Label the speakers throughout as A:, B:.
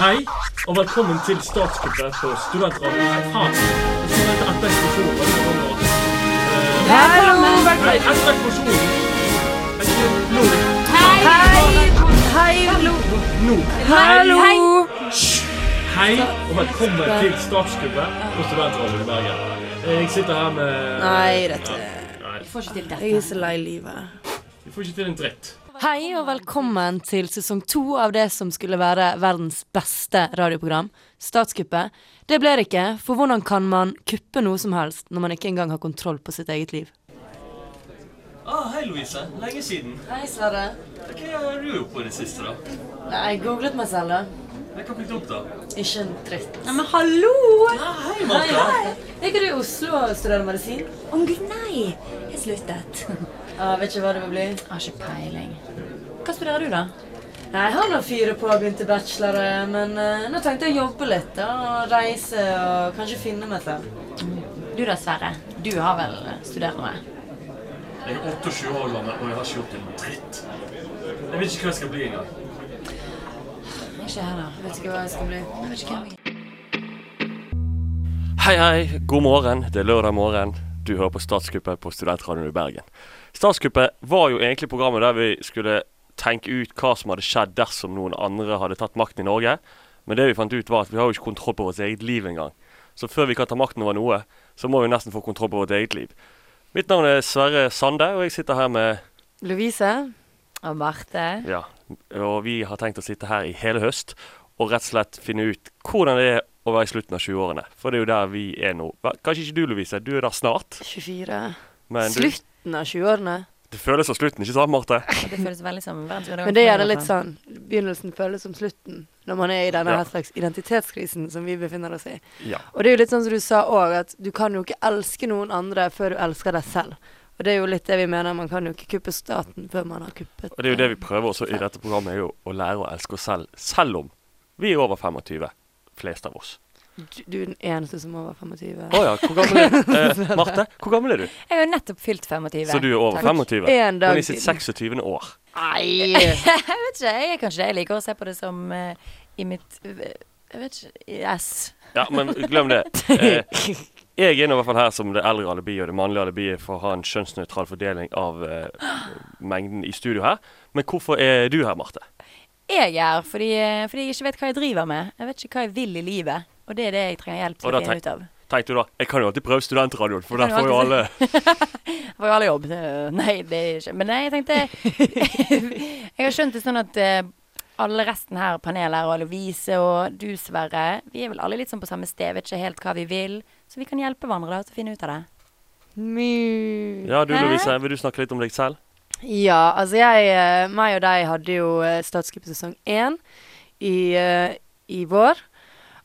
A: Hei, og velkommen til statskuppet på Studentradioen. Nei, faen. Jeg tror det er et beste forum for mange år. Eh, Hei, et beste porsjon. Jeg tror Nå. Nå.
B: Hallo!
A: Hei, og velkommen til statskuppet på Studentradioen i Bergen. Eh, Jeg sitter her med
B: Nei, dette
A: Nei,
C: Får ikke til
B: Jeg er
C: dette.
B: så lei livet.
A: vi får ikke til en dritt.
C: Hei og velkommen til sesong to av det som skulle være verdens beste radioprogram, Statskuppet. Det ble det ikke, for hvordan kan man kuppe noe som helst når man ikke engang har kontroll på sitt eget liv?
D: Ah, hei, Louise. Lenge siden.
C: Hei, Sverre.
D: Hva har du gjort på det siste, da?
C: Jeg googlet meg selv, da.
D: Hva har blitt opp, da?
C: Ikke en dritt.
B: Nei, men hallo!
D: Hei,
C: Ligger du i Oslo og studerer medisin?
E: Oh
F: Om Gud, nei. Jeg sluttet.
C: Jeg vet ikke hva det vil bli.
F: Har ikke peiling. Hva studerer du, da?
C: Jeg har nå fire på og begynte bachelor, eh, men nå tenkte jeg å jobbe litt. da, Reise og kanskje finne meg selv.
F: Du da, Sverre. Du har vel eh, studert noe?
D: Jeg er 28 år gammel, og jeg har ikke gjort en dritt. Jeg vet ikke hva jeg skal bli engang.
F: Ikke her, da.
C: Vet ikke hva jeg skal bli.
F: Jeg vet ikke hvem jeg
D: Hei, hei. God morgen. Det er lørdag morgen. Du hører på Statskuppet på Studentradioen i Bergen. Statskuppet var jo egentlig programmet der vi skulle tenke ut hva som hadde skjedd dersom noen andre hadde tatt makten i Norge. Men det vi fant ut var at vi har jo ikke kontroll på vårt eget liv engang. Så før vi kan ta makten over noe, så må vi nesten få kontroll på vårt eget liv. Mitt navn er Sverre Sande, og jeg sitter her med
C: Lovise. Og Marte.
D: Ja, og vi har tenkt å sitte her i hele høst og rett og slett finne ut hvordan det er å være i slutten av 20-årene. For det er jo der vi er nå. Hva- Kanskje ikke du, Lovise. Du er der snart.
C: 24.
D: Men du,
C: Slutten av 20-årene.
D: det føles som slutten, ikke sant, Marte?
F: Det føles veldig som verdens undergang.
C: Men det gjør det litt sånn. Begynnelsen føles som slutten når man er i denne
D: Ja.
C: her slags identitetskrisen som vi befinner oss i.
D: Ja.
C: Og det er jo litt sånn som du sa òg, at du kan jo ikke elske noen andre før du elsker deg selv. Og det er jo litt det vi mener, man kan jo ikke kuppe staten før man har kuppet
D: Og det er jo det vi prøver også i dette programmet, er jo å lære å elske oss selv, selv om vi er over 25, flest av oss.
C: Du, du er den eneste som er over 25.
D: Å ja, hvor gammel er du? Eh, Marte, hvor gammel er du?
F: Jeg har jo nettopp fylt 25.
D: Så du er over
F: Takk.
D: 25?
C: En dag
D: Hun er i sitt
C: siden.
D: 26. år.
C: Nei!
F: Jeg vet ikke, jeg er kanskje det. Jeg liker å se på det som eh, i mitt eh, Jeg vet ikke Yes.
D: Ja, men glem det. Eh, jeg er nå i hvert fall her som det eldre alibiet og det mannlige alibiet for å ha en kjønnsnøytral fordeling av eh, mengden i studio her. Men hvorfor er du her, Marte?
F: Jeg er her fordi, eh, fordi jeg ikke vet hva jeg driver med. Jeg vet ikke hva jeg vil i livet. Og det er det jeg trenger hjelp
D: Og
F: til
D: da
F: å finne ut av.
D: Tenkte du da Jeg kan jo alltid prøve studentradioen, for der
F: Jeg kan
D: får jo
F: jo
D: alle
F: For jeg har alle jobb. Eh, Nei, det er ikke Men nei, jeg tenkte Jeg har skjønt det sånn at eh, alle resten her, panelet her, og Lovise og du, Sverre, vi er vel alle litt sånn på samme sted, vet ikke helt hva vi vil. Så vi kan hjelpe hverandre da til å finne ut av det.
C: Mu.
D: Ja, du
F: Hæ?
D: Lovise, vil du snakke litt om deg selv?
C: Ja, altså jeg, eh, meg og deg hadde jo eh, Statskupp sesong 1 i, eh, i vår.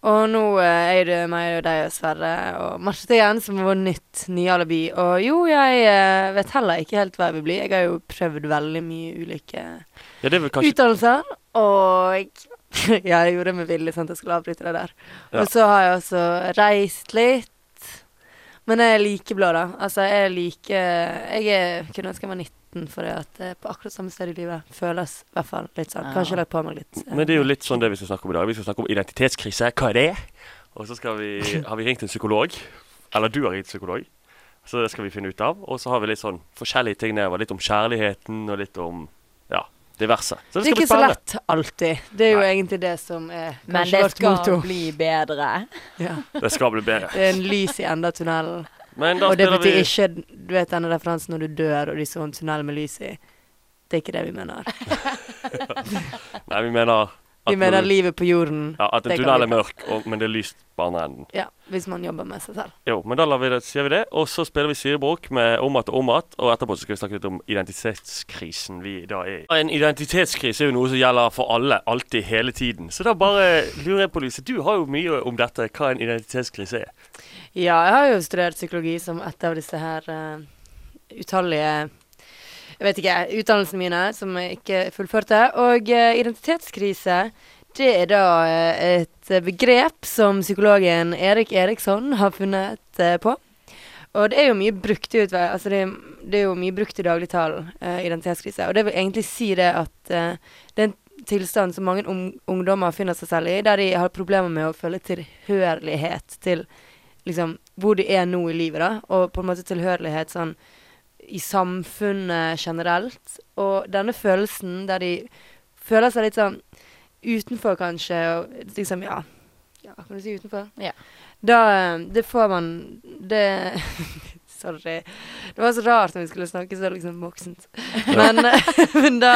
C: Og nå eh, er det meg og deg og Sverre og Marte igjen som er vår nytt nye alibi. Og jo, jeg eh, vet heller ikke helt hva jeg vil bli. Jeg har jo prøvd veldig mye ulike
D: Ja, det er vel kanskje
C: utdannelser. Og jeg gjorde det med vilje, sånn at jeg skulle avbryte det der.
D: Ja.
C: Og så har jeg også reist litt. Men jeg er like blå, da. Altså, jeg er like Jeg er, kunne ønske jeg var 19, for det at eh, på akkurat samme sted i livet føles i hvert fall litt sånn.
F: Ja.
C: Kanskje jeg har lagt på meg litt. eh,
D: Men det er jo litt sånn det vi skal snakke om i dag. Vi skal snakke om identitetskrise. Hva er det? Og så skal vi, har vi ringt en psykolog. Eller du har ringt psykolog. Så det skal vi finne ut av. Og så har vi litt sånn forskjellige ting nedover. Litt om kjærligheten og litt om ja, diverse. Så
C: Det
D: skal
C: er
D: bli
C: ikke så
D: spennende.
C: lett alltid. Det er jo
D: Nei.
C: egentlig det som er
F: Men
C: kanskje
F: det
C: vårt
F: skal
C: motto.
F: bli bedre.
C: Ja.
D: Det skal bli bedre.
C: Det er en lys i enden av tunnelen.
D: Men da
C: Og det
D: spiller
C: betyr
D: vi
C: ikke du vet denne referansen når du dør og de så en tunnel med lys i. Det er ikke det vi mener.
D: Nei, vi mener at,
C: Vi mener
D: når du-
C: livet på jorden.
D: ja, at en
C: det kan
D: tunnel
C: vi
D: er mørk, og, men det er lyst på andre enden.
C: Ja, hvis man jobber med seg selv.
D: Jo, men da lar vi det, sier vi det. Og så spiller vi syrebrok med om igjen og om igjen. Og etterpå så skal vi snakke litt om identitetskrisen vi da er i. En identitetskrise er jo noe som gjelder for alle, alltid, hele tiden. Så da bare lurer jeg på, Lise, du har jo mye om dette, hva en identitetskrise er.
C: Ja, jeg har jo studert psykologi som et av disse her eh, utallige Jeg vet ikke, utdannelsene mine som jeg ikke fullførte. Og eh, identitetskrise, det er da eh, et begrep som psykologen Erik Eriksson har funnet eh, på. Og det er jo mye brukt i utvei, altså det, er- det er jo mye brukt i dagligtalen, eh, identitetskrise. Og det vil egentlig si det at eh, det er en tilstand som mange ung- ungdommer finner seg selv i, der de har problemer med å føle tilhørighet til liksom, hvor de er nå i livet, da, og på en måte tilhørighet sånn i samfunnet generelt. Og denne følelsen der de føler seg litt sånn utenfor, kanskje, og liksom, ja Ja, kan du si utenfor?
F: Ja.
C: Da eh, Det får man Det Sorry. Det var så rart når vi skulle snakke så liksom voksent. Men, men da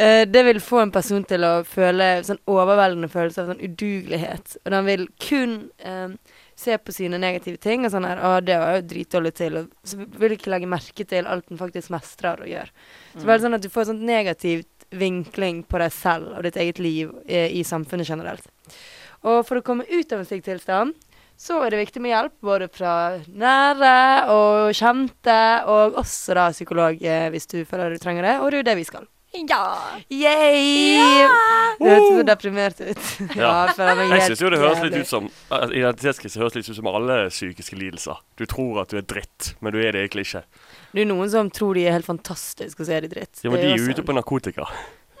C: eh, Det vil få en person til å føle sånn overveldende følelse av sånn udugelighet. Og den vil kun eh, se på sine negative ting og sånn her Å, det var jo dritdårlig til. Og så vil du ikke legge merke til alt den faktisk mestrer og gjør. Så
F: Mm.
C: det er sånn at du får sånn negativt vinkling på deg selv og ditt eget liv eh, i samfunnet generelt. Og for å komme ut av en slik tilstand så er det viktig med hjelp både fra nære og kjente, og også da psykolog eh, hvis du føler du trenger det, og det er jo det vi skal.
F: sånn, Ja.
C: Yay! Du høres så deprimert ut.
D: Ja.
C: jeg føler meg
D: Jeg
C: helt
D: synes jo det høres litt
C: jævlig.
D: ut som eh, Identitetskrise høres litt ut som alle psykiske lidelser. Du tror at du er dritt, men du er det egentlig ikke.
C: Det er noen som tror de er helt fantastiske, og så er de dritt.
D: Ja, men
C: Det
D: De
C: er
D: er
C: jo
D: jo
C: også-
D: ute på narkotika.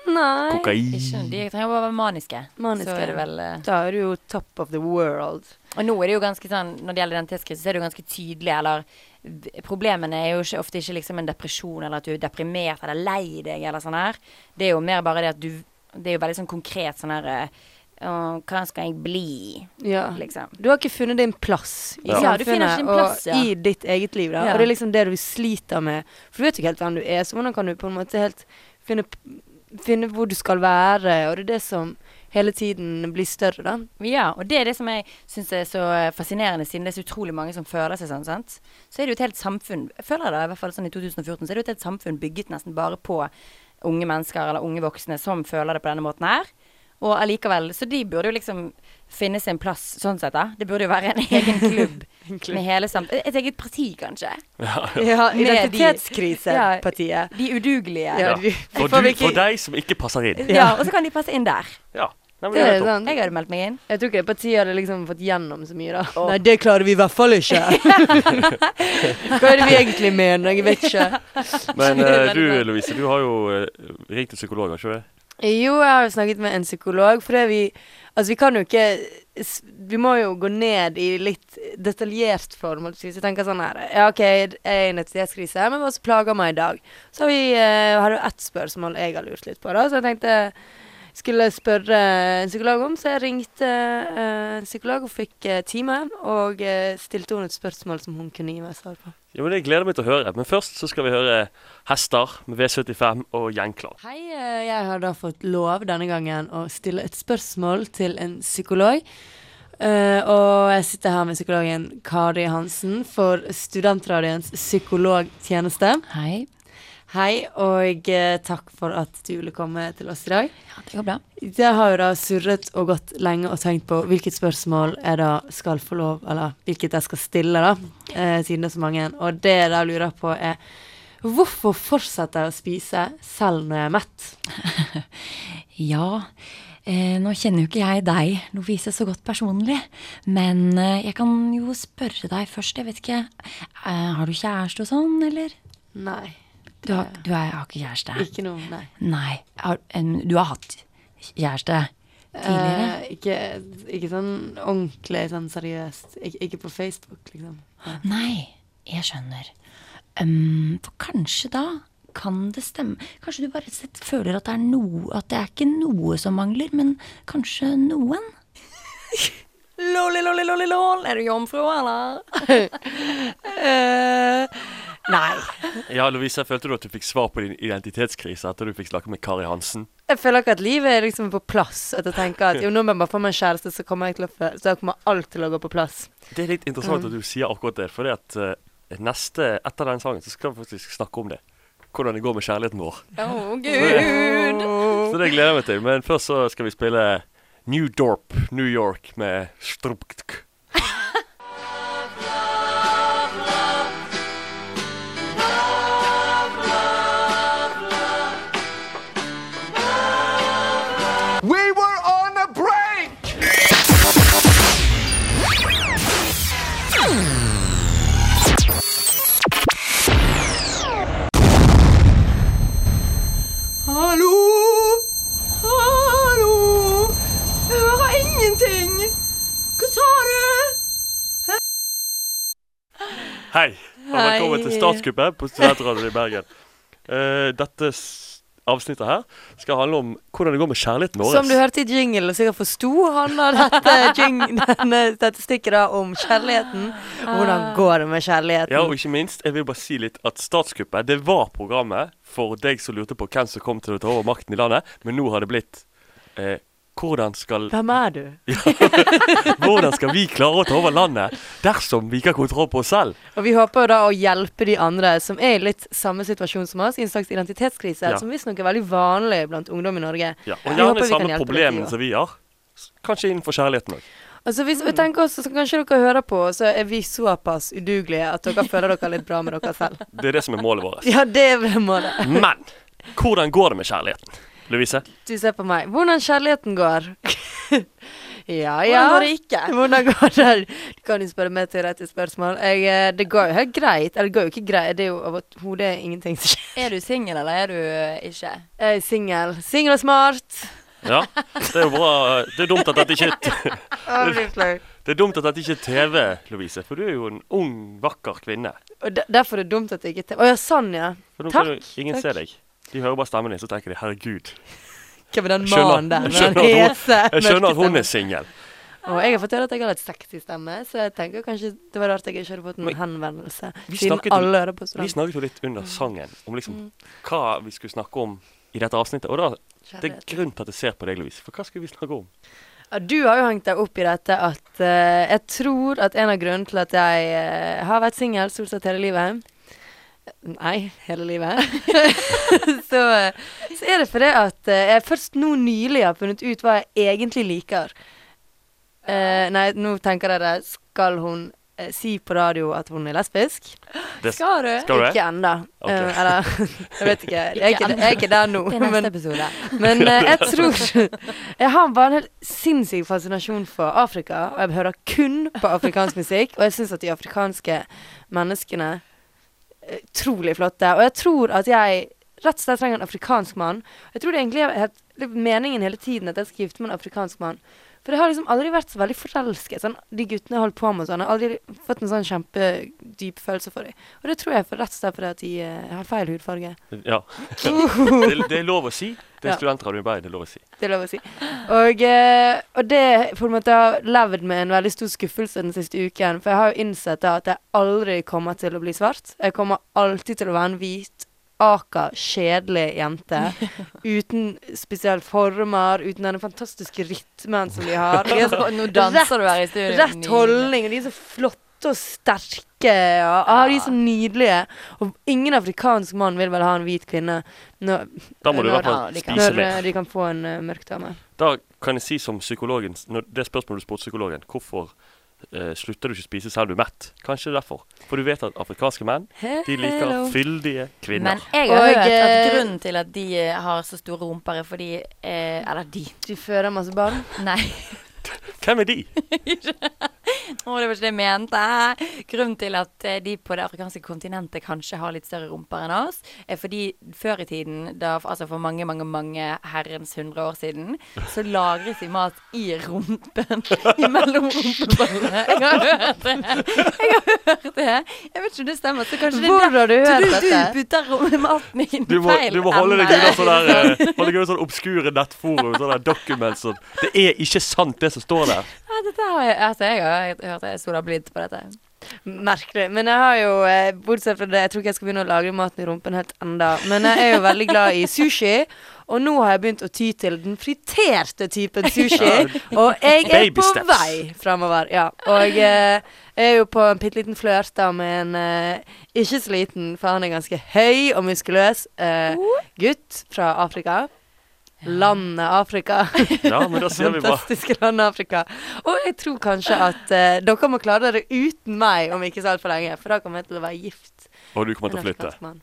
C: Nei.
D: Kokain.
F: Ikke, de trenger bare å være maniske.
C: Maniske.
F: Så er det vel eh,
C: Da er du jo top of the world.
F: Og nå er det jo ganske sånn, når det gjelder identitetskrise, så er det jo ganske tydelig, eller d- Problemene er jo ikke, ofte ikke liksom en depresjon, eller at du er deprimert eller lei deg, eller sånn her. Det er jo mer bare det at du Det er jo veldig sånn konkret sånn her eh, «Åh, Hva skal jeg bli?
C: Ja.
F: Liksom.
C: Du har ikke funnet din plass i
F: Ja. Ja, du finner
C: samfunnet
F: ikke din plass,
C: og
F: ja.
C: i ditt eget liv. Da.
F: Ja.
C: Og det er liksom det du sliter med. For du vet jo ikke helt hvem du er, så hvordan kan du på en måte helt finne, p- finne hvor du skal være? Og det er det som hele tiden blir større, da.
F: Ja, og det er det som jeg syns er så eh, fascinerende, siden det er så utrolig mange som føler seg sånn, sant. Så er det jo et helt samfunn, jeg føler det i hvert fall sånn i 2014, så er det jo et helt samfunn bygget nesten bare på unge mennesker eller unge voksne som føler det på denne måten her. Og allikevel, så de burde jo liksom finne sin plass sånn sett, da. Det burde jo være en egen klubb med hele samfunnet. Et eget parti, kanskje.
C: Ja,
F: med de-
C: Identitetskrisepartiet.
F: De udugelige.
C: Ja,
F: Ja.
C: du-
D: For,
C: får
D: du,
C: vi ikke-
D: for deg som ikke passer inn.
F: og så kan de passe inn der.
D: Ja. Nei, men
C: Det
D: det
C: er
D: er topp.
C: sant.
F: Jeg hadde meldt meg inn.
C: Jeg tror ikke det partiet hadde liksom fått gjennom så mye, da. Nei, det klarer vi i hvert fall ikke. Hva er det vi egentlig mener? Jeg vet ikke.
D: Men
F: Det er
D: eh,
F: veldig
D: du
F: bra.
D: Louise, du har jo eh, ringt til psykolog, har ikke du det?
C: Jo, jeg har jo snakket med en psykolog, for det er vi Altså, vi kan jo ikke s- Vi må jo gå ned i litt detaljert form. holdt jeg på å si. Så jeg tenker sånn her Ja, OK, jeg er i en identitetskrise, men hva som plager meg i dag? Så har vi eh, har jo ett spørsmål jeg har lurt litt på, da, så jeg tenkte skulle spørre en psykolog om, så jeg ringte eh, en psykolog og fikk eh, time, og eh, stilte henne et spørsmål som hun kunne gi meg svar på.
D: Jo, men Jeg gleder meg til å høre. Men først så skal vi høre Hester med V75 og Gjengklang.
C: Hei, eh, jeg har da fått lov denne gangen å stille et spørsmål til en psykolog. Eh, og jeg sitter her med psykologen Kari Hansen for Studentradioens psykologtjeneste.
F: Hei.
C: Hei, og eh, takk for at du ville komme til oss i dag.
F: Ja, det går bra.
C: Jeg har jo da surret og gått lenge og tenkt på hvilket spørsmål jeg da skal få lov, eller hvilket jeg skal stille, da, eh, siden det er så mange. Og det jeg da lurer på, er hvorfor fortsetter jeg å spise selv når jeg er mett?
E: Ja, eh, nå kjenner jo ikke jeg deg, Lovise, så godt personlig. Men eh, jeg kan jo spørre deg først. Jeg vet ikke eh, Har du kjæreste og sånn, eller?
C: Nei.
E: Du har, du er, har ikke kjæreste?
C: Ikke noe, nei.
E: Nei. Har, em, du har hatt kjæreste tidligere?
C: Eh, ikke, ikke sånn ordentlig, sånn seriøst. Ik ikke på Facebook, liksom.
E: Nei, jeg skjønner. Ehm, for kanskje da kan det stemme. Kanskje du bare rett og slett føler at det er noe At det er ikke noe som mangler, men kanskje noen?
F: Lolly, lolly, lolly, lol. Er du jomfru, eller?
E: Eh.
C: Nei.
D: Ja, Lovise, følte du at du fikk svar på din identitetskrise etter du fikk snakke med Kari Hansen?
C: Jeg føler ikke at livet er liksom på plass. At jeg tenker at jo, nå må jeg bare få meg en kjæreste, så kommer, jeg til å føle, så kommer alt til å gå på plass.
D: Det er litt
C: Mm.
D: interessant at du sier akkurat det, for at eh, neste, etter den sangen så skal vi faktisk snakke om det. Hvordan det går med kjærligheten vår.
F: Å, gud.
C: Mm.
D: Så det gleder jeg meg til. Men først så skal vi spille New Dorp, New York med Strupktk.
G: We were on a break!
B: Hallo!
D: Hei, og velkommen til Statskuppet på Studentradioen i Bergen. Eh, dette s- avsnittet her skal handle om hvordan det går med kjærligheten vår.
C: Som du hørte i jinglen, og sikkert forsto han av dette, jing- denne statistikken da, om kjærligheten. Og hvordan går det med kjærligheten?
D: Ja, og ikke minst, jeg vil bare si litt at Statskuppet, det var programmet for deg som lurte på hvem som kom til å ta over makten i landet, men nå har det blitt eh, hvordan skal,
C: Hvem er du?
D: hvordan skal vi klare å ta over landet dersom vi ikke har kontroll på oss selv?
C: Og vi håper jo da å hjelpe de andre som er i litt samme situasjon som oss, i en slags identitetskrise,
D: Ja.
C: som visstnok er veldig vanlig blant ungdom i Norge.
D: Ja, og
C: Vi håper
D: gjerne
C: vi kan
D: samme
C: hjelpe dere
D: problemene
C: også.
D: som vi har. S- Kanskje innenfor kjærligheten òg.
C: Altså hvis vi tenker oss, så kanskje dere hører på, så er vi såpass udugelige at dere føler dere litt bra med dere selv.
D: Det er det som er målet vårt.
C: Ja, det er vel målet.
D: Men hvordan går det med kjærligheten? Louise?
C: Du ser på meg. Hvordan kjærligheten går? ja, ja.
B: Hvordan går det ikke?
C: Hvordan går det? Du kan jo spørre meg teoretiske spørsmål. Jeg, eh, det går jo helt greit. Eller det går jo ikke greit, det er jo overhodet ingenting som skjer.
F: Er du singel, eller er du eh, ikke?
C: Jeg er singel. Singel og smart.
D: Ja, det er jo bra. Det er dumt at dette ikke
C: Å, det blir flaut.
D: Det er dumt at dette ikke er TV, Lovise, for du er jo en ung, vakker kvinne.
C: Og de- derfor er det dumt at jeg ikke Å ja, sånn, ja.
D: For nå
C: Takk,
D: kan jo ingen se deg. De hører bare stemmen din, så tenker de 'herregud'.
C: Hvem er den
D: Skjønner-
C: mannen der? med
D: skjønner
C: den
D: at hun-
C: hese
D: Jeg skjønner at hun
C: mørke
D: er singel.
C: stemmen? Og jeg har fått høre at jeg har litt sexy stemme, så jeg tenker kanskje det var rart jeg ikke hadde fått en
D: Men-
C: henvendelse.
D: Vi
C: Siden
D: snakket om-
C: alle hører på
D: Vi
C: student.
D: snakket jo litt under sangen om
C: Mm.
D: liksom hva vi skulle snakke om i dette avsnittet. Og da, det er grunn til at jeg ser på deg, Lovise, for hva skulle vi snakke om?
C: Ja, Du har jo hengt deg opp i dette at eh, jeg tror at en av grunnene til at jeg eh, har vært singel stort sett hele livet Nei, hele livet. så, eh, så er det fordi at eh, jeg først nå nylig har funnet ut hva jeg egentlig liker. Eh, nei, nå tenker dere Skal hun eh, si på radio at hun er lesbisk?
D: Det,
F: Skal du?
D: skal du det?
C: Ikke ennå.
D: Ok.
C: Eh, eller Jeg vet ikke. Jeg er ikke, jeg er ikke der nå.
F: Det er neste
C: Men
F: episode.
C: men eh, jeg tror Jeg har bare en helt sinnssyk fascinasjon for Afrika. Og jeg hører kun på afrikansk musikk. Og jeg syns at de afrikanske menneskene er utrolig flotte. Og jeg tror at jeg rett og slett trenger en afrikansk mann. Jeg tror det egentlig har vært litt meningen hele tiden at jeg skal gifte meg med en afrikansk mann. For jeg har liksom aldri vært så veldig forelsket. Sånn, de guttene jeg holdt på med og sånn. Jeg har aldri fått en sånn kjempedyp følelse for dem. Og det tror jeg for rett og slett fordi at de eh, har feil hudfarge.
D: Ja. Det, det er lov å si. Det
C: Ja.
D: er studentradio i Bergen, det er lov å si.
C: Det er lov å si. Og, eh, og det på en måte har levd med en veldig stor skuffelse den siste uken. For jeg har jo innsett da at jeg aldri kommer til å bli svart. Jeg kommer alltid til å være en hvit, aker, kjedelig jente. Uten spesielle former, uten denne fantastiske rytmen som de har. De er så,
F: Nå danser du her i studio.
C: rett holdning, og de er så flotte og sterke. Og, ah, de er så nydelige. Og ingen afrikansk mann vil vel ha en hvit kvinne når,
D: Da må du i
C: Når-
D: hvert fall
F: ja, de kan-
D: spise
C: når
D: mer.
C: eh, de kan få en eh, mørk dame.
D: Da kan jeg si som psykologen når Det spørsmålet du spurte psykologen, hvorfor eh, slutter du ikke å spise selv om du er mett? Kanskje det er derfor. For du vet at afrikanske menn de liker
C: Hello.
D: fyldige
F: Men
D: kvinner.
F: jeg har
C: Og,
F: hørt at
C: eh,
F: grunnen til at de eh, har så store rumper, er fordi eh, Eller de.
C: De føder masse barn.
F: Nei.
D: Hvem er de?
F: Å, det var ikke det jeg mente. Grunnen til at eh, de på det afrikanske kontinentet kanskje har litt større rumper enn oss, er fordi før i tiden, da, altså for mange, mange, mange herrens hundre år siden, så lagres de mat i rumpen. Imellom rumpeballene. Jeg har hørt det. Jeg har hørt det. Jeg vet ikke om det stemmer. Så kanskje det
C: Hvor
F: er
C: har du
F: derfor
C: hørt
F: du,
C: dette?
F: du putter rom- maten i den
D: Du må,
F: feil
D: du må holde deg
F: enden.
D: unna sånne, der, eh, holde deg unna sånne obskure nettforum. Sånne der documents og Det er ikke sant, det som står der.
F: Ja, dette har jeg, altså, jeg har hørt det. Jeg stoler blindt på dette.
C: Merkelig. Men jeg har jo, eh, bortsett fra det, jeg tror ikke jeg skal begynne å lagre maten i rumpen helt enda. Men jeg er jo veldig glad i sushi. Og nå har jeg begynt å ty til den friterte typen sushi. Og jeg er
D: Baby
C: på
D: steps.
C: vei fremover. Ja. Og eh, jeg er jo på en bitte liten flørt da med en eh, ikke så liten, for han er ganske høy og muskuløs, eh, gutt fra Afrika. Landet Afrika.
D: Ja, men da sier vi bare
C: Fantastiske land Afrika. Og jeg tror kanskje at eh, dere må klare dere uten meg om ikke så altfor lenge, for da kommer jeg til å være gift.
D: Og du kommer
C: med
D: til å
C: en
D: flytte.
C: afrikansk mann.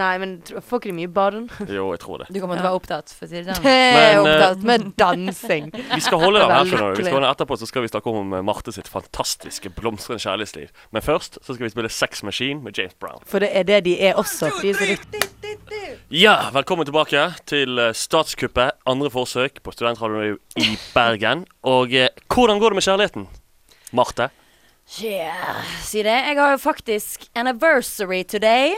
C: Nei, men tro- får ikke de mye barn?
D: Jo, jeg tror det.
F: Du kommer til å være opptatt, for å si det sånn.
C: Jeg er
D: Men, eh,
C: opptatt med dansing.
D: Vi skal holde den her, skjønner du.
C: Veldig
D: Vi skal
C: lykkelig.
D: holde den Etterpå så skal vi snakke om eh, Marte sitt fantastiske, blomstrende kjærlighetsliv. Men først så skal vi spille Sex Machine med James Brown.
C: For det er det de er også. De er så rikt-
D: Ja, velkommen tilbake til eh, statskuppet. Andre forsøk på studentradioen i Bergen. Og eh, hvordan går det med kjærligheten? Marte?
F: Yeah, si det. Jeg har jo faktisk anniversary today.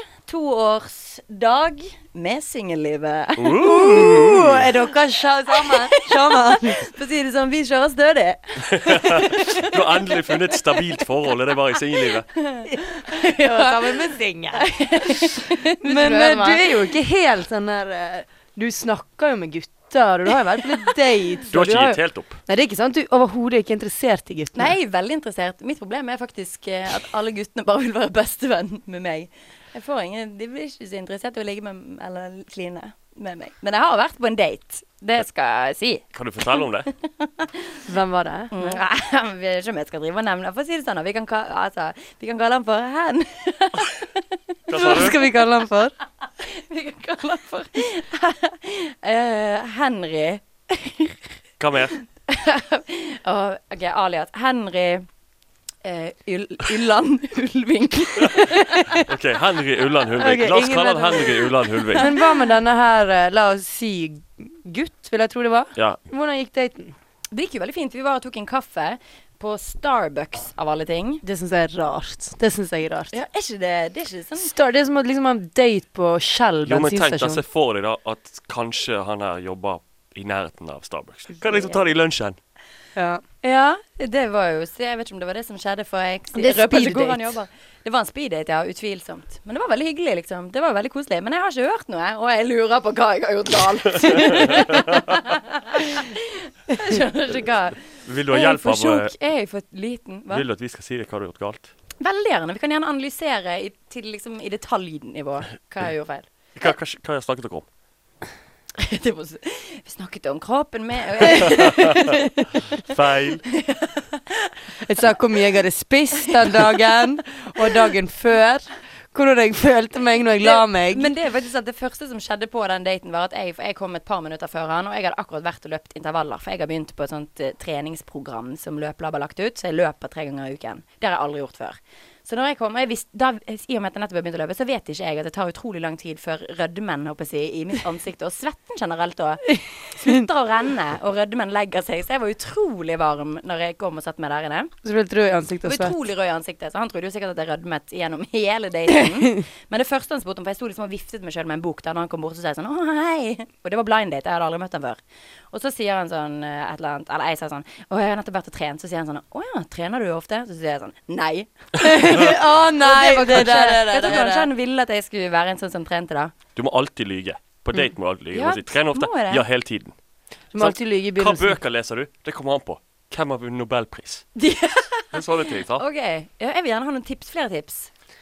F: Toårsdag med singellivet. Uh,
C: Oh, er dere sja- sammen? sammen?
F: For å si det sånn, vi kjører stødig.
D: Du har endelig funnet et stabilt forhold. Det er bare i singellivet.
C: Ja, sammen med singel. Men eh, du er jo ikke helt sånn der eh, Du snakker jo med gutter, og du har jo vært på litt dates.
D: Du
C: og
D: har ikke
C: har
D: gitt
C: jo-
D: helt opp.
C: Nei, det er ikke sant. Du er overhodet ikke interessert i guttene.
F: Nei, veldig interessert. Mitt problem er faktisk eh, at alle guttene bare vil være bestevenn med meg. Jeg får ingen, De blir ikke så interessert i å ligge med eller kline med meg. Men jeg har vært på en date. Det skal jeg si.
D: Kan du fortelle om det?
C: Hvem var det?
F: Mm. Jeg vet ikke om jeg skal drive og nevne For å si det sånn, da, vi kan, ka altså, vi kan kalle han for Hen.
D: Hva sa
C: Hva
D: du?
C: skal vi kalle han for?
F: Vi kan kalle han for eh, Henry.
D: Hva mer?
F: Og, OK, alias Henry eh, Yl Ylland Ulving.
D: Ok, Henry Ulland Hulvik. La oss
C: ingen
D: kalle
C: vet
D: han
C: om-
D: Henry Ulland Hulvik.
C: Men hva med denne her, eh, la oss si gutt, vil jeg tro det var?
D: Ja.
C: Hvordan gikk daten?
F: Det gikk jo veldig fint. Vi var og tok en kaffe på Starbucks, av alle ting.
C: Det syns jeg er rart. Det synes jeg er rart.
F: Ja, er ikke det Det er ikke sånn
C: Star, det er som å liksom, ha en date på Shell
D: Jo, men tenk deg se
C: bensinstasjon.
D: for deg da at kanskje han her jobber i nærheten av Starbucks. Kan liksom ta det i lunsjen.
C: Ja.
F: Ja, det var jo så Jeg vet ikke om det var det som skjedde, for jeg
C: Det er
F: røper ikke
C: speed
F: hvor han
C: date.
F: jobber. Det var en speeddate, ja. Utvilsomt. Men det var veldig hyggelig, liksom. Det var veldig koselig. Men jeg har ikke hørt noe, og jeg lurer på hva jeg har gjort galt. jeg skjønner ikke hva.
D: Vil du ha
F: Er jeg
D: hjelp
F: for
D: av eh,
F: tjukk? Er jeg for liten? Hva?
D: Vil du at vi skal si deg hva du har gjort galt?
F: Veldig gjerne. Vi kan gjerne analysere i, til liksom i detaljnivå hva jeg gjorde feil.
D: Hva, hva, hva snakket dere om?
F: Det var så- Vi snakket om kroppen med og jeg,
D: Feil.
C: Jeg sa hvor mye jeg hadde spist den dagen, og dagen før. Hvordan jeg følte meg når jeg la meg.
F: Men det er faktisk at det første som skjedde på den daten, var at jeg, for jeg kom et par minutter før han, og jeg hadde akkurat vært og løpt intervaller. For jeg har begynt på et sånt eh, treningsprogram som Løpelab har lagt ut, så jeg løper tre ganger i uken. Det har jeg aldri gjort før. Så når jeg kom, og jeg visste, da, i og med at jeg nettopp har begynt å løpe, så vet ikke jeg at det tar utrolig lang tid før rødmen håper jeg, å si, i mitt ansikt, og svetten generelt òg, slutter å renne, og rødmen legger seg. Så jeg var utrolig varm når jeg kom og satte meg der inne.
C: Så ble jeg rød i ansiktet og
F: Og
C: svett.
F: utrolig rød i ansiktet, så han trodde jo sikkert at jeg rødmet gjennom hele daten. Men det første han spurte om, for jeg sto liksom og viftet meg sjøl med en bok da når han kom bort og sa jeg sånn Å, hei. Og det var blind date, jeg hadde aldri møtt han før. Og så sier han sånn eh, et eller annet, eller jeg sier sånn Å, jeg har nettopp vært og trent. Så sier han sånn Å ja, trener du ofte? Så sier jeg sånn Nei.
C: Å nei,
F: Og
C: det
F: det var kanskje-
C: der er
F: Jeg tror kanskje
C: det.
F: han ville at jeg skulle være en sånn som trente, da.
D: Du må alltid lyge. På date må du alltid lyge. Du
F: Ja,
D: må si, Trener ofte.
F: må jeg det?
D: Ja, hele tiden.
C: Du må alltid lyge i
D: Hva
C: begynnelsen.
D: bøker leser du? Det kommer an på. Hvem har vunnet nobelpris?
F: De-
D: Det er sånne ting, sant?
F: OK. Ja, jeg vil gjerne ha noen tips. Flere tips.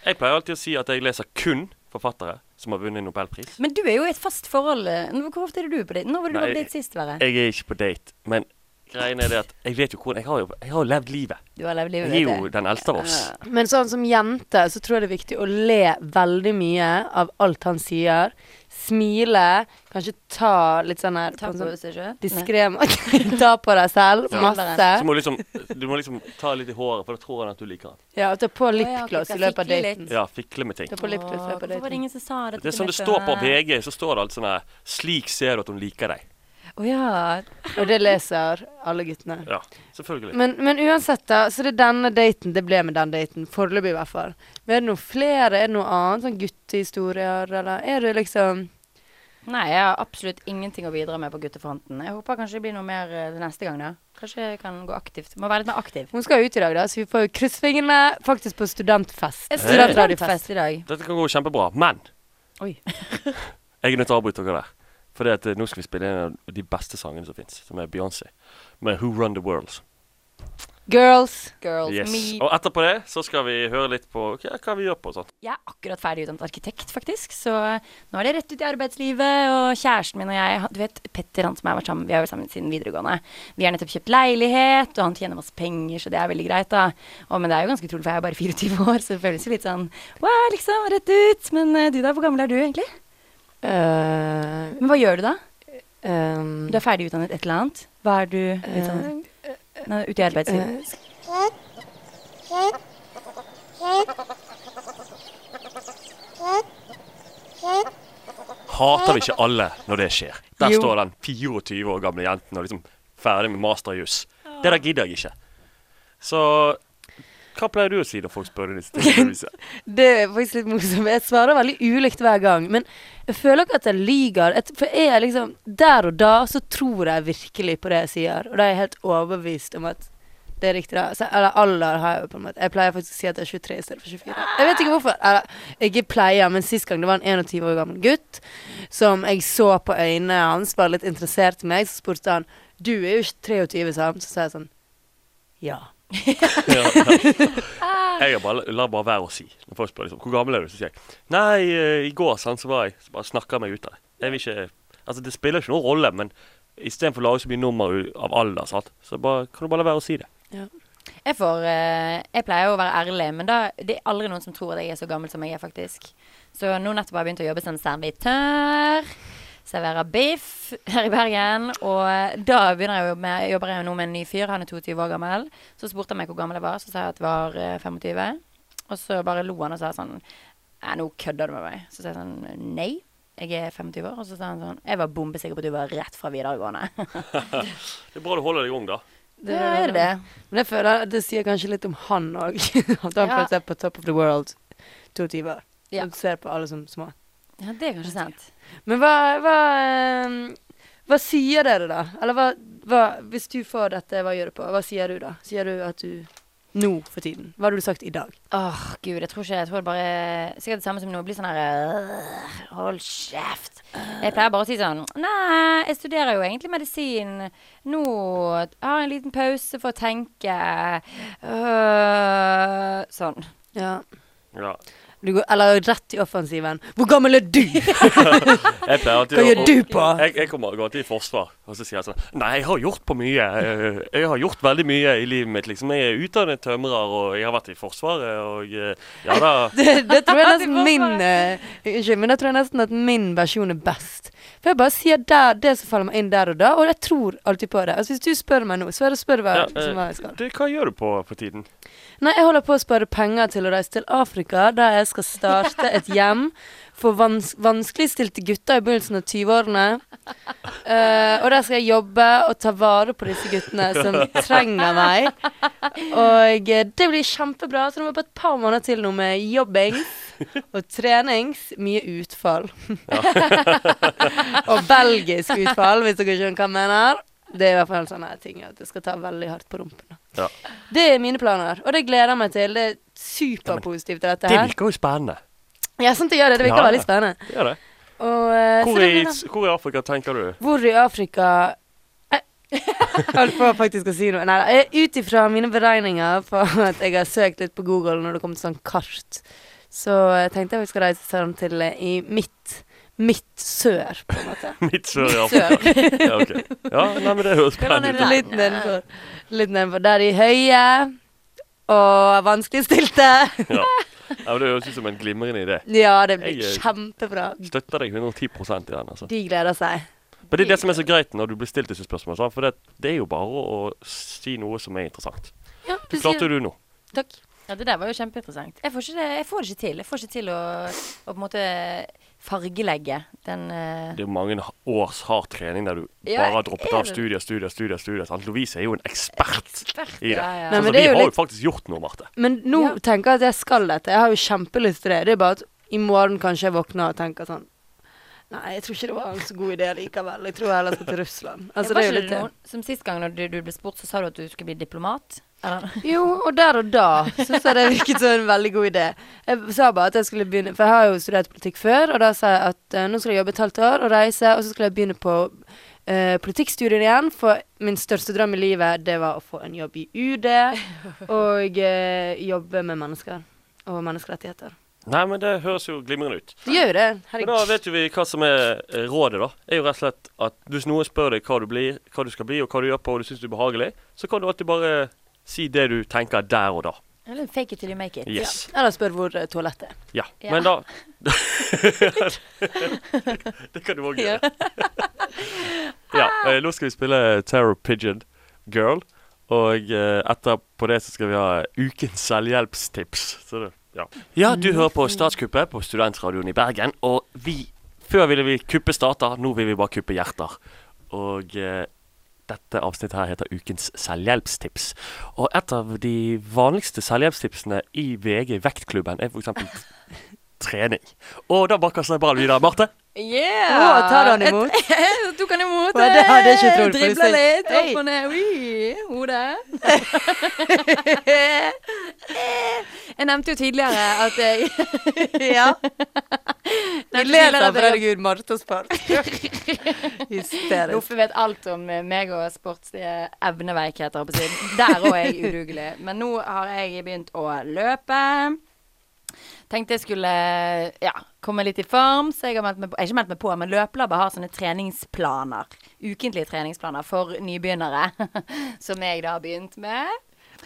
D: Jeg pleier alltid å si at jeg leser kun forfattere som har vunnet nobelpris.
F: Men du er jo i et fast forhold. eh, Hvor ofte er det du på date? Når var det du var
D: Nei,
F: på date sist, Verre?
D: Jeg er ikke på date, men greien er det at jeg vet jo hvordan Jeg har jo, jeg har jo levd livet.
F: Du har levd livet
D: Jeg
F: ditt.
D: er jo
F: eh.
D: den eldste av oss.
C: Men sånn som jente, så tror jeg det er viktig å le veldig mye av alt han sier. Smile. Kanskje ta litt sånn her
F: Ta
C: på en
F: på
C: sånn
F: seg sjøl.
C: diskré måte. Ta på deg selv
F: Ja.
C: masse.
D: Så må du liksom, du må liksom ta litt i håret, for da tror han at du liker han.
C: Ja, og ta på
F: ja, ok,
C: lipgloss
F: skal
C: i løpet av
F: fikle litt.
C: daten.
D: Ja, fikle med ting.
C: Ta på lipgloss i
F: Åh,
C: løpet av
F: Hvorfor var det
C: daten.
F: ingen som sa det?
D: Det er sånn det står på VG, så står det alt sånn her Slik ser du at hun liker deg.
F: Å ja.
C: Og det leser alle guttene.
D: Ja, selvfølgelig.
C: Men, men uansett, da. Så det er denne daten. Det ble med den daten. Foreløpig, i hvert fall. Men er det noe flere? Er det noe annet? Sånn guttehistorier, eller er det liksom
F: Nei, jeg har absolutt ingenting å bidra med på guttefronten. Jeg håper kanskje det blir noe mer eh, neste gang, da. Kanskje jeg kan gå aktivt. Må være litt mer aktiv.
C: Hun skal jo ut i dag, da, så vi får jo krysse fingrene faktisk på studentfest. Studentradiofest.
F: Studentradiofest i dag.
D: Dette kan gå kjempebra, men
F: Oi.
D: jeg er nødt til å avbryte dere der. Fordi at eh, nå skal vi spille en av de beste sangene som fins, som er Beyoncé. Med Who Run The World.
C: Girls.
F: Girls
D: Yes.
F: meet.
D: Og etterpå det så skal vi høre litt på hva, hva vi gjør på og sånt.
F: Jeg er akkurat ferdig utdannet arkitekt, faktisk. Så nå er det rett ut i arbeidslivet. Og kjæresten min og jeg Du vet Petter, han som jeg har vært sammen med, vi har vært sammen siden videregående. Vi har nettopp kjøpt leilighet, og han tjener masse penger, så det er veldig greit, da. Og, men det er jo ganske utrolig, for jeg er bare 24 år, så det føles jo litt sånn wow, liksom, rett ut. Men eh, du da, hvor gammel er du egentlig?
C: eh,
F: Men hva gjør du da?
C: ehm,
F: Du er ferdig utdannet et eller annet. Hva er du utdannet? Nei, ute i arbeidslivet.
D: Hater vi ikke alle når det skjer? Der
C: Jo.
D: står den 24 år gamle jenten og liksom ferdig med masterjus. Det der gidder jeg ikke. Så Hva pleier du å si når folk spør deg disse tingene? Louise?
C: Det er faktisk litt morsomt. Jeg svarer veldig ulikt hver gang. Men jeg føler ikke at jeg lyver. Et- For jeg er liksom Der og da så tror jeg virkelig på det jeg sier. Og da er jeg helt overbevist om at det er riktig. da. Så, eller alder har jeg jo på en måte. Jeg pleier faktisk å si at jeg er 23 i stedet for 24. Jeg vet ikke hvorfor. Eller, ikke pleier, men sist gang det var en 21 år gammel gutt som jeg så på øynene hans, var litt interessert i meg, så spurte han Du er jo ikke 23, sa han. Så sa jeg sånn Ja.
D: Ja, ja. Jeg har bare, lar bare være å si. Når folk spør liksom, hvor gammel er du, så sier jeg nei, eh, i går sant, så var jeg Så bare snakker jeg meg ut av det. Jeg vil ikke Altså, det spiller ikke noen rolle, men istedenfor å lage så mye nummer u- av alder, sant, så bare, kan du bare la være å si det.
F: Jeg, får, eh, jeg pleier å være ærlig, men da, det er aldri noen som tror at jeg er så gammel som jeg er, faktisk. Så nå nettopp har jeg begynt å jobbe som servitør. Serverer biff her i Bergen. Og da begynner jeg å jobbe med, jobber jeg jo nå med en ny fyr. Han er 22 år gammel. Så spurte han meg hvor gammel jeg var, så sa jeg at jeg var eh, 25. Og så bare lo han og sa sånn Nei, nå kødder du med meg. Så sa jeg sånn Nei, jeg er 25 år. Og så sa han sånn Jeg var bombesikker på at du var rett fra videregående.
D: Det er bra du holder deg ung, da.
C: Det
F: ja, er det det?
C: Men jeg føler at det sier kanskje litt om han òg. At han
F: Ja.
C: føler seg på top of the world 22 år.
F: Ja.
C: Og ser på alle som små.
F: Ja, det er kanskje sant.
C: Men hva, hva, ehm, hva sier dere, da? Eller hva, hva Hvis du får dette, hva gjør du på? Hva sier du da? Sier du at du Nå for tiden. Hva hadde du sagt i dag?
F: Åh, gud, jeg tror ikke Jeg tror det bare Sikkert det samme som nå. Blir sånn her øh, Hold kjeft. Jeg pleier bare å si sånn Nei, jeg studerer jo egentlig medisin. Nå jeg har jeg en liten pause for å tenke. Øh, sånn.
C: Ja.
D: Ja.
C: Du går, eller rett i offensiven. Hvor gammel er du?
D: Jeg pleier alltid
C: Hva
D: å-
C: gjør du på?
D: Jeg, jeg kommer går alltid i forsvar, og så sier jeg sånn Nei, jeg har gjort på mye. eh, Jeg har gjort veldig mye i livet mitt, liksom. Jeg er utdannet tømrer, og jeg har vært i Forsvaret, og eh, Ja da.
C: Det, det tror jeg nesten min eh, Unnskyld, men det tror jeg nesten at min versjon er best. For jeg bare sier der, det som faller meg inn der og da, og jeg tror alltid på det. Altså Hvis du spør meg nå, så er det spør hva
D: Ja,
C: som hva jeg
D: eh,
C: skal.
D: du, hva gjør du på for tiden?
C: Nei, jeg holder på å spare penger til å reise til Afrika, der jeg skal starte et hjem for vans vanskeligstilte gutter i begynnelsen av 20-årene. Eh, og der skal jeg jobbe og ta vare på disse guttene som trenger meg. Og eh, det blir kjempebra, så det må bare et par måneder til nå med jobbings og trenings. Mye utfall. og belgisk utfall, hvis dere skjønner hva jeg mener. Det er i hvert fall en sånn her ting at jeg skal ta veldig hardt på rumpen.
D: Ja.
C: Det er mine planer, og det gleder jeg meg til. Det er superpositivt, dette
D: Det
C: her.
D: virker jo spennende.
C: Ja, sant det gjør det. Det virker
D: Ja.
C: veldig spennende.
D: Det gjør det.
C: Og, eh, så
D: Hvor
C: det
D: i,
C: blir da-
D: hvor i Afrika tenker du?
C: Hvor i Afrika Eh, Jeg får faktisk å si noe. Nei, ut ifra mine beregninger på at jeg har søkt litt på Google når det kommer til sånn kart, så eh, tenkte jeg vi skal reise sånn til eh, i midt, midt sør, på en måte.
D: Midt sør i Afrika.
C: Sør.
D: Ja, ok. ja nei, men det høres spennende ut.
C: Litt nedenfor. Litt nedenfor. Der de høye og vanskeligstilte.
D: Ja. ja, men Det høres ut som en glimrende idé.
C: Ja, det blir
D: Jeg, eh,
C: kjempebra.
D: Støtter deg 110 i den. altså.
C: De gleder seg.
D: Men det er det som er så greit når du blir stilt disse spørsmålene. sant? For det, det er jo bare å si noe som er interessant.
C: Ja,
D: Du klarte du nå.
C: Takk.
F: Ja, Det der var jo kjempeinteressant. Jeg får, ikke det, jeg får det ikke til. Jeg får ikke til å, å på en måte fargelegge den eh,
D: Det er jo mange ha- års hard trening der du
F: Ja,
D: bare har droppet
F: er
D: av
F: det-
D: studier, studier, studier. studier sant? Louise er jo en ekspert i det.
F: ja, ja.
D: Sånn
C: Nei, men
D: som
C: det
D: vi
C: er jo
D: har jo
C: litt-
D: faktisk gjort noe, Marte.
C: Men nå
F: Ja.
C: tenker jeg at jeg skal dette. Jeg har jo kjempelyst til det. Det er bare at i morgen kanskje jeg våkner og tenker sånn Nei, jeg tror ikke det var en så god idé likevel. Jeg tror jeg heller skal til Russland. Altså, det
F: var
C: er jo
F: ikke
C: litt
F: det
C: det.
F: noen, som sist gang når du, du ble spurt, så sa du at du skulle bli diplomat? Eller?
C: Jo, og der og da syns jeg det virket som en veldig god idé. Jeg sa bare at jeg skulle begynne For jeg har jo studert politikk før, og da sa jeg at eh, nå skal jeg jobbe et halvt år og reise, og så skal jeg begynne på eh, politikkstudier igjen, for min største drøm i livet, det var å få en jobb i UD og eh, jobbe med mennesker og menneskerettigheter.
D: Nei, men det høres jo glimrende ut.
C: Det gjør jo det.
D: Men da
C: Herregud.
D: vet jo vi hva som er eh, rådet, da. er jo rett og slett at hvis noen spør deg hva du, blir, hva du skal bli, og hva du gjør på, og du syns du er behagelig, så kan du alltid bare si det du tenker der og da.
F: Eller fake it till you make it.
D: Yes.
C: Eller spør hvor eh, toalettet er.
D: Ja.
F: Ja.
D: Men da Det kan du òg gjøre. ja. eh, Nå skal vi spille Terror Pigeon Girl, og eh, etterpå det så skal vi ha ukens selvhjelpstips. Så det, ja. ja, du hører på Statskuppet på Studentradioen i Bergen, og vi Før ville vi kuppe stater, nå vil vi bare kuppe hjerter. Og eh, Dette avsnittet her heter Ukens selvhjelpstips. Og et av de vanligste selvhjelpstipsene i VG Vektklubben er f.eks. trening. Og da bare kaster jeg ballen videre. Marte?
F: Yeah!
C: Å, tar du han imot?
F: Jeg tok han imot.
C: Å, det hadde jeg ikke trodd, for å si
F: Dribla
C: det.
F: litt
C: Hei.
F: opp og ned. Ui, oh, hodet. jeg nevnte jo tidligere at jeg
C: Ja. Vi ler
F: nevnte tidligere
C: av
F: at jeg-
C: herregud, Marte Spark. Hysterisk.
F: Loffe vet alt om eh, meg og sportslige evneveikheter. på siden. Der òg er jeg udugelig. Men nå har jeg begynt å løpe. Tenkte jeg skulle eh, ja, komme litt i form, så jeg har meldt meg på, jeg har ikke meldt meg på, men Løpelabbet har sånne treningsplaner. Ukentlige treningsplaner for nybegynnere, som jeg da har begynt med.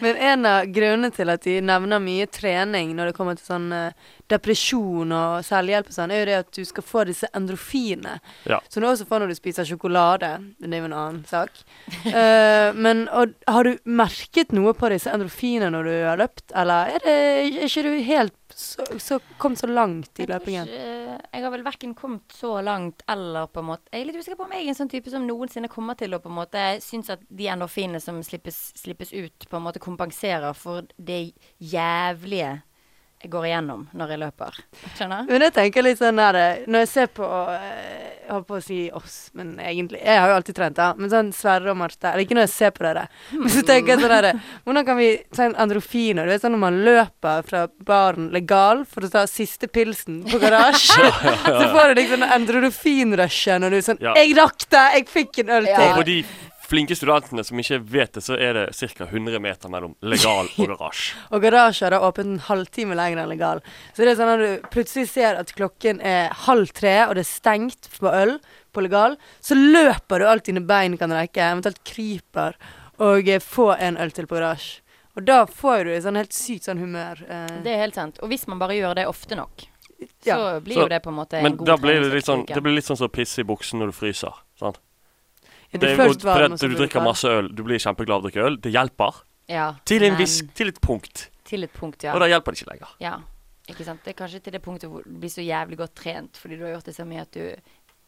C: Men en av grunnene til at de nevner mye trening når det kommer til sånn eh, depresjon og selvhjelp og sånn, er jo det at du skal få disse endorfinene.
D: Ja.
C: Som du også får når du spiser sjokolade. Men det er jo en annen sak. Eh, men og, har du merket noe på disse endorfinene når du har løpt, eller er, det, er ikke du helt så, så kommet så langt i
F: Jeg tror
C: løpingen?
F: ikke- eh, Jeg har vel verken kommet så langt eller på en måte Jeg er litt usikker på om jeg er en sånn type som noensinne kommer til å på en måte synes at de endorfinene som slippes, slippes ut, på en måte kompenserer for det jævlige jeg går igjennom når jeg løper. Skjønner?
C: Men jeg tenker litt sånn der eh, Når jeg ser på eh, Jeg holdt på å si oss, men egentlig Jeg har jo alltid trent, da. Men sånn Sverre og Marte Eller ikke når jeg ser på dere. Men så tenker jeg sånn der eh, Hvordan kan vi ta en androfiner? Du vet sånn når man løper fra baren legal for å ta siste pilsen på garasje, så får du liksom endrofinrushet når du er sånn
D: Ja.
C: 'Jeg rakk det! Jeg fikk en øl
D: Og
C: til!'
D: for de flinke studentene som ikke vet det, så er det ca. 100 meter mellom legal og garasje.
C: Og garasjer er åpent en halvtime lenger enn legal. Så det er sånn at du plutselig ser at klokken er halv tre, og det er stengt på øl på legal, så løper du alt dine bein kan rekke, eventuelt kryper, og eh, får en øl til på garasje. Og da får du et sånn helt sykt sånn humør. eh,
F: Mm. Det er helt sant. Og hvis man bare gjør det ofte nok,
C: ja.
F: så blir
D: Så-
F: jo det på en måte en
D: Men
F: god
D: da blir det litt sånn,
F: treningsuke.
D: det blir litt sånn som å pisse i buksen når du fryser. Sant? Det,
C: Ja, du
D: er
C: er
D: jo-
C: først
D: fordi
C: varm,
D: at
C: og så
D: du
C: blir
D: drikker
C: kald.
D: masse øl, du blir kjempeglad av å drikke øl. Det hjelper.
F: ja,
D: Til, en
F: men
D: viss, til et punkt.
F: Til et punkt,
D: Og
F: ja.
D: da hjelper det ikke lenger.
F: ja. Ikke sant? Det er kanskje til det punktet hvor du blir så jævlig godt trent fordi du har gjort det så mye at du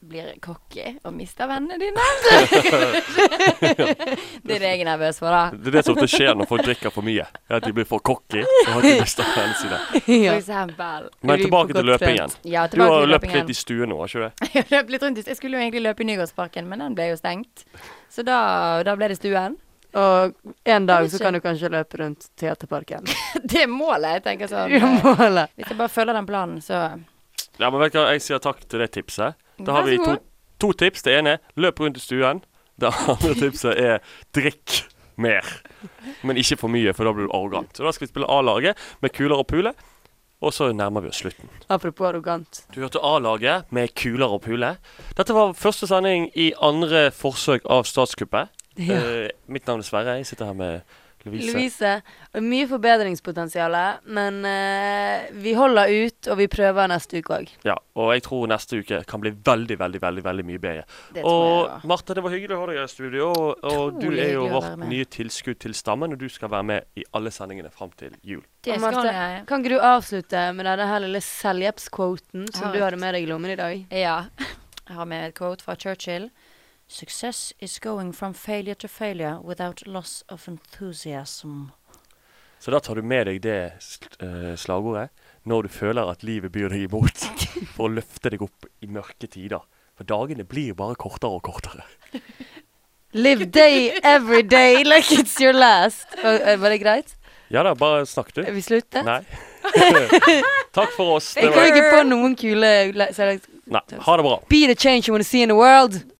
F: blir cocky og mister vennene dine. Det er det jeg er nervøs for, da.
D: Det er det som ofte skjer når folk drikker for mye. er At de blir for cocky. og har ikke lyst til å ha en side.
F: For
C: ja.
F: eksempel.
D: Men
C: Blir
D: tilbake
C: for
D: til
C: godt
D: løpingen.
F: Ja,
D: Du
F: tilbake
D: har
F: til
D: løpt litt
F: løpingen.
D: i stuen nå, har ikke du det?
F: Jeg løp litt rundt. i- Jeg skulle jo egentlig løpe i Nygårdsparken, men den ble jo stengt. Så da, da ble det stuen.
C: Og en dag så
F: ikke.
C: kan du kanskje løpe rundt Teaterparken.
F: Det er målet, jeg tenker
C: Ja,
F: sånn.
C: målet.
F: Hvis jeg bare følger den planen, så
D: Ja, men vet du hva, jeg sier takk til det tipset. Da
F: Vær
D: har
F: så
D: vi to,
F: god.
D: to tips. Det ene er løp rundt i stuen. Det andre tipset er drikk mer. Men ikke for mye, for da blir du arrogant. Så da skal vi spille A-laget med kuler og pule. Og så nærmer vi oss slutten.
C: Apropos arrogant.
D: Du hørte A-laget med kuler og pule. Dette var første sending i andre forsøk av statskuppet. Eh, mitt navn er Sverre. Jeg sitter her med Lovise.
C: Louise, mye forbedringspotensial, men eh, vi holder ut, og vi prøver neste uke òg.
D: Ja, og jeg tror neste uke kan bli veldig, veldig veldig, veldig mye bedre.
F: Det tror jeg
D: Og
F: også.
D: Marte, det var hyggelig å ha deg i studio. Og, og du
F: Utrolig
D: er jo
F: hyggelig å
D: vårt
F: være med.
D: nye tilskudd til stammen, og du skal være med i alle sendingene fram til jul.
F: Det skal jeg.
C: Kan ikke du avslutte med denne her lille selvhjelpsquoten som
F: har
C: du
F: et.
C: hadde med deg i lommen i dag?
F: Ja. Jeg har med et quote fra Churchill. Success is going from failure to failure without loss of enthusiasm.
D: Så da tar du med deg det sl- eh, slagordet når du føler at livet byr deg imot, for å løfte deg opp i mørke tider. For dagene blir bare kortere og kortere.
C: Live day every day like it's your last. Var, eh, var det greit?
D: Ja da, bare snakk, du.
C: Er vi slutter?
D: Nei. Takk for oss. Det
C: Jeg kom
D: var,
C: ikke på noen kule le- selvhjelps-
D: nei, ha det bra.
C: Be the change you want to see in the world.